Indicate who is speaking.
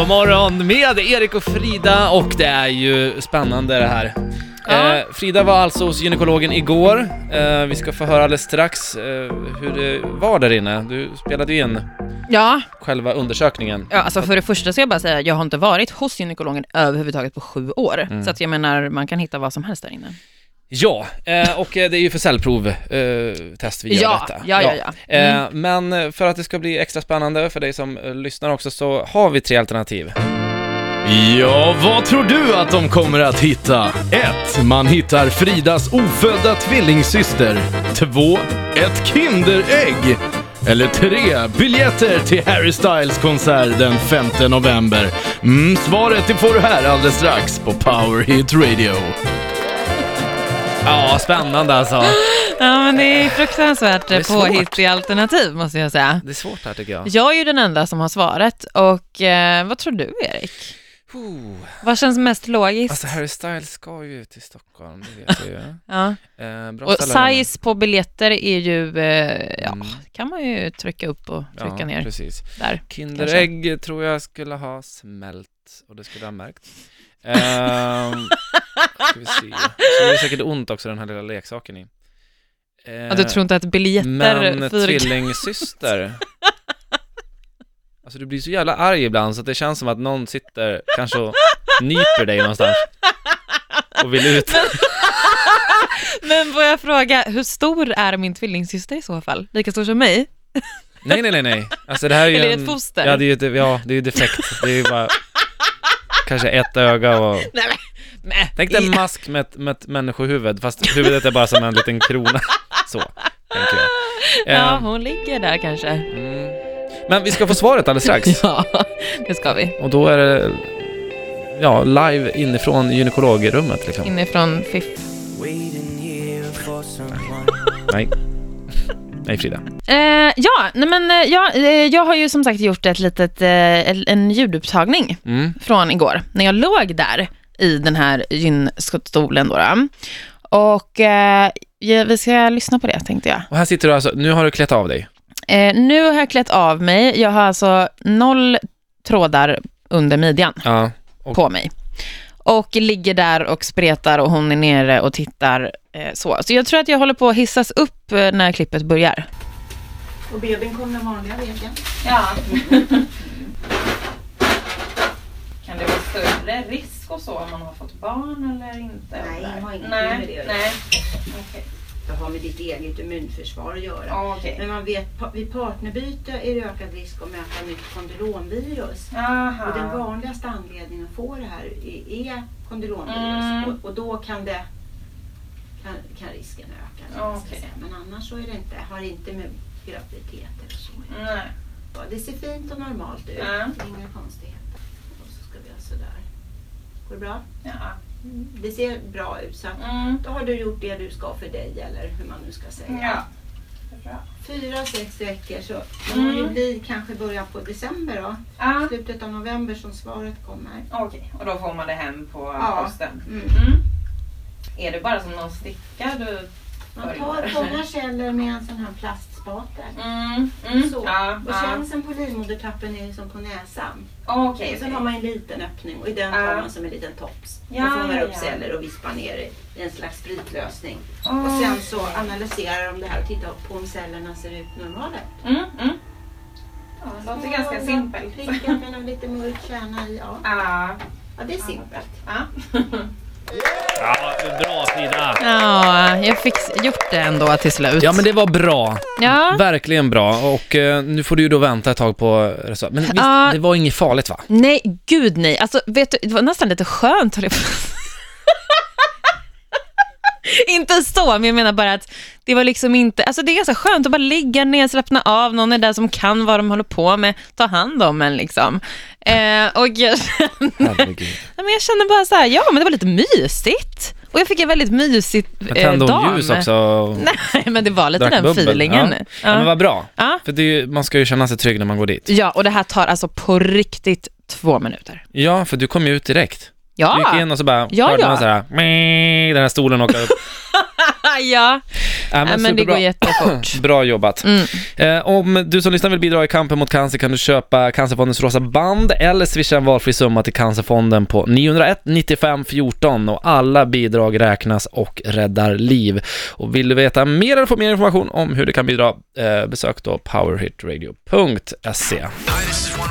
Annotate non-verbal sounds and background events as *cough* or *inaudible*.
Speaker 1: Powermorgon med Erik och Frida och det är ju spännande det här.
Speaker 2: Ja.
Speaker 1: Eh, Frida var alltså hos gynekologen igår. Eh, vi ska få höra alldeles strax eh, hur det var där inne. Du spelade ju in
Speaker 2: Ja,
Speaker 1: själva undersökningen.
Speaker 2: ja alltså för det första ska jag bara säga, jag har inte varit hos gynekologen överhuvudtaget på sju år.
Speaker 1: Mm.
Speaker 2: Så att jag menar, man kan hitta vad som helst där inne.
Speaker 1: Ja, eh, och eh, det är ju för cellprovtest eh, test vi gör
Speaker 2: Ja,
Speaker 1: detta.
Speaker 2: ja, ja, Mm. ja.
Speaker 1: Eh, men eh, för att det ska bli extra spännande för dig som eh, lyssnar också så har vi tre alternativ.
Speaker 3: Ja, vad tror du att de kommer att hitta? 1. Man hittar Fridas ofödda tvillingsyster. 2. Ett Kinderägg. Eller 3. Biljetter till Harry Styles konsert den 5 november. Mm, svaret det får du här alldeles strax på Power Hit Radio.
Speaker 1: Ja, spännande alltså.
Speaker 2: Mm. Ja, men det är fruktansvärt
Speaker 1: är svårt.
Speaker 2: påhittiga alternativ måste jag säga.
Speaker 1: Det är svårt här tycker jag.
Speaker 2: Jag är ju den enda som har svaret och eh, vad tror du Erik?
Speaker 1: Puh.
Speaker 2: Vad känns mest logiskt?
Speaker 1: Alltså Harry Styles ska ju till Stockholm, det vet jag ju.
Speaker 2: ja.
Speaker 1: Eh, bra
Speaker 2: Och
Speaker 1: ställe
Speaker 2: size på biljetter är ju, eh, ja,
Speaker 1: Mm.
Speaker 2: kan man ju trycka upp och trycka
Speaker 1: ja,
Speaker 2: ner
Speaker 1: precis.
Speaker 2: där.
Speaker 1: Kinderägg tror jag skulle ha smält och det skulle ha märkt.
Speaker 2: *laughs*
Speaker 1: Ehm, ska vi se. Så det är säkert ont också den här lilla leksaken i. Eh,
Speaker 2: Ja, du tror inte att biljetter,
Speaker 1: men
Speaker 2: fyrkant...
Speaker 1: tvillingsyster. Alltså du blir så jävla arg ibland så att det känns som att någon sitter kanske och nyper dig någonstans. Och vill ut.
Speaker 2: *laughs* Men får jag fråga, hur stor är min tvillingsyster i så fall? Lika stor som mig?
Speaker 1: Nej, nej, nej, nej. Alltså det här är ju
Speaker 2: Eller är det
Speaker 1: en...
Speaker 2: ett foster?
Speaker 1: Ja, det är ju, ett- ja, det är ju defekt. Det är ju bara kanske ett öga och...
Speaker 2: Nej, men, nej.
Speaker 1: Tänk dig en mask med ett, med ett människohuvud, fast huvudet är bara som en liten krona. Så, tänker jag.
Speaker 2: Ja,
Speaker 1: Eh,
Speaker 2: hon ligger där kanske.
Speaker 1: mm. Men vi ska få svaret alldeles strax.
Speaker 2: *laughs* Ja, det ska vi.
Speaker 1: Och då är det... Ja, live inifrån gynekologrummet liksom.
Speaker 2: Inifrån Fiff.
Speaker 4: Waiting here for someone.
Speaker 1: Nej. Nej, Frida.
Speaker 2: Eh, ja, nej men eh, ja, eh, jag har ju som sagt gjort ett litet, eh, el- en ljudupptagning
Speaker 1: Mm.
Speaker 2: från igår, när jag låg där i den här gynstolen då. då. Och eh, ja, vi ska lyssna på det tänkte jag.
Speaker 1: Och här sitter du alltså, nu har du klätt av dig.
Speaker 2: Eh, nu har jag klätt av mig, jag har alltså noll trådar under midjan.
Speaker 1: Ja. Och-
Speaker 2: på mig. Och ligger där och spretar och hon är nere och tittar eh, så. Så jag tror att jag håller på att hissas upp eh, när klippet börjar.
Speaker 5: Och babyn kom den vanliga vägen.
Speaker 2: Ja. *laughs* kan det vara större risk och så om man har fått barn eller inte?
Speaker 5: Nej, jag har ingenting Nej, med det att göra. nej. Det har med ditt eget immunförsvar att göra.
Speaker 2: Ja, okej.
Speaker 5: Men man vet, pa- vid partnerbyte är det ökad risk att möta nytt kondylomvirus. Och den vanligaste anledningen att få det här är, är kondylomvirus.
Speaker 2: Mm.
Speaker 5: Och, och då kan, det, kan, kan risken öka. så att
Speaker 2: Okej.
Speaker 5: säga. Men annars så är det inte, har det inte med graviditet eller så
Speaker 2: Nej.
Speaker 5: Ja, Det ser fint och normalt ut.
Speaker 2: Ja.
Speaker 5: Inga konstigheter. Och så ska vi göra sådär. Går det bra?
Speaker 2: Ja.
Speaker 5: Det ser bra ut. Så att
Speaker 2: Mm.
Speaker 5: Då har du gjort det du ska för dig eller hur man nu ska säga. Fyra, sex veckor så det
Speaker 2: Mm.
Speaker 5: mm. ju bli kanske början på december då.
Speaker 2: Ja.
Speaker 5: Slutet av november som svaret kommer.
Speaker 2: Okej, och då får man det hem på
Speaker 5: Ja.
Speaker 2: posten.
Speaker 5: Mm.
Speaker 2: Mm. Är det bara som någon sticka du...
Speaker 5: Man tar, fångar celler med en sån här plastspatel.
Speaker 2: Mm, mm.
Speaker 5: Så.
Speaker 2: Ja,
Speaker 5: Och
Speaker 2: ja.
Speaker 5: känseln på livmodertappen är ju som på näsan.
Speaker 2: Okej,
Speaker 5: Och sen har man en liten öppning och i den
Speaker 2: Ja.
Speaker 5: tar man som en liten tops.
Speaker 2: Ja,
Speaker 5: och fångar
Speaker 2: ja,
Speaker 5: upp
Speaker 2: ja.
Speaker 5: celler och vispar ner i i en slags spritlösning.
Speaker 2: okej.
Speaker 5: Och sen så analyserar de det här och tittar på om cellerna ser ut normala ut.
Speaker 2: Mm, mm. Ja, det låter ganska
Speaker 5: Ja,
Speaker 2: simpelt.
Speaker 5: Prickar *laughs* med någon lite mörk kärna i. Ja,
Speaker 2: Ja.
Speaker 5: ja det är simpelt.
Speaker 2: Ja.
Speaker 1: Ja, bra Frida.
Speaker 2: ja, jag fick gjort det ändå till slut.
Speaker 1: Ja, men det var bra.
Speaker 2: Ja.
Speaker 1: Verkligen bra. Och eh, nu får du ju då vänta ett tag på resultat. Men visst,
Speaker 2: Ja.
Speaker 1: det var inget farligt va?
Speaker 2: Nej, gud nej. Alltså, vet du, det var nästan lite skönt, höll jag på att säga. *laughs* Inte så, men jag menar bara att det var liksom inte, alltså det är ganska skönt att bara ligga ner, slappna av, någon är där som kan vad de håller på med, ta hand om en liksom. Eh, och jag,
Speaker 1: Herregud.
Speaker 2: Nej, *laughs* men jag känner bara så här, ja men det var lite mysigt. Och jag fick en väldigt mysig
Speaker 1: Men
Speaker 2: eh,
Speaker 1: tände hon
Speaker 2: dam.
Speaker 1: ljus också? och
Speaker 2: *laughs* Nej, men det var lite
Speaker 1: drack
Speaker 2: den
Speaker 1: bubbel?
Speaker 2: feelingen.
Speaker 1: Ja. Ja, men
Speaker 2: Ja.
Speaker 1: vad bra.
Speaker 2: Ja.
Speaker 1: För det är ju, man ska ju känna sig trygg när man går dit.
Speaker 2: ja, och det här tar alltså på riktigt två minuter.
Speaker 1: Ja, för du kom ju ut direkt. Du gick
Speaker 2: Ja,
Speaker 1: in och så bara
Speaker 2: Ja,
Speaker 1: hörde
Speaker 2: ja.
Speaker 1: man så här, "Ming", den här stolen åka upp.
Speaker 2: *laughs* ja.
Speaker 1: Äh,
Speaker 2: Men, men det
Speaker 1: superbra. *clears throat*
Speaker 2: går jättefort.
Speaker 1: *laughs* Bra jobbat.
Speaker 2: Mm.
Speaker 1: Eh, om du som lyssnar vill bidra i kampen mot cancer kan du köpa Cancerfondens rosa band eller swisha en valfri summa till Cancerfonden på 901 95 14 och alla bidrag räknas och räddar liv. Och vill du veta mer eller få mer information om hur du kan bidra, eh, besök då powerhitradio.se.
Speaker 6: Hi, this is Juan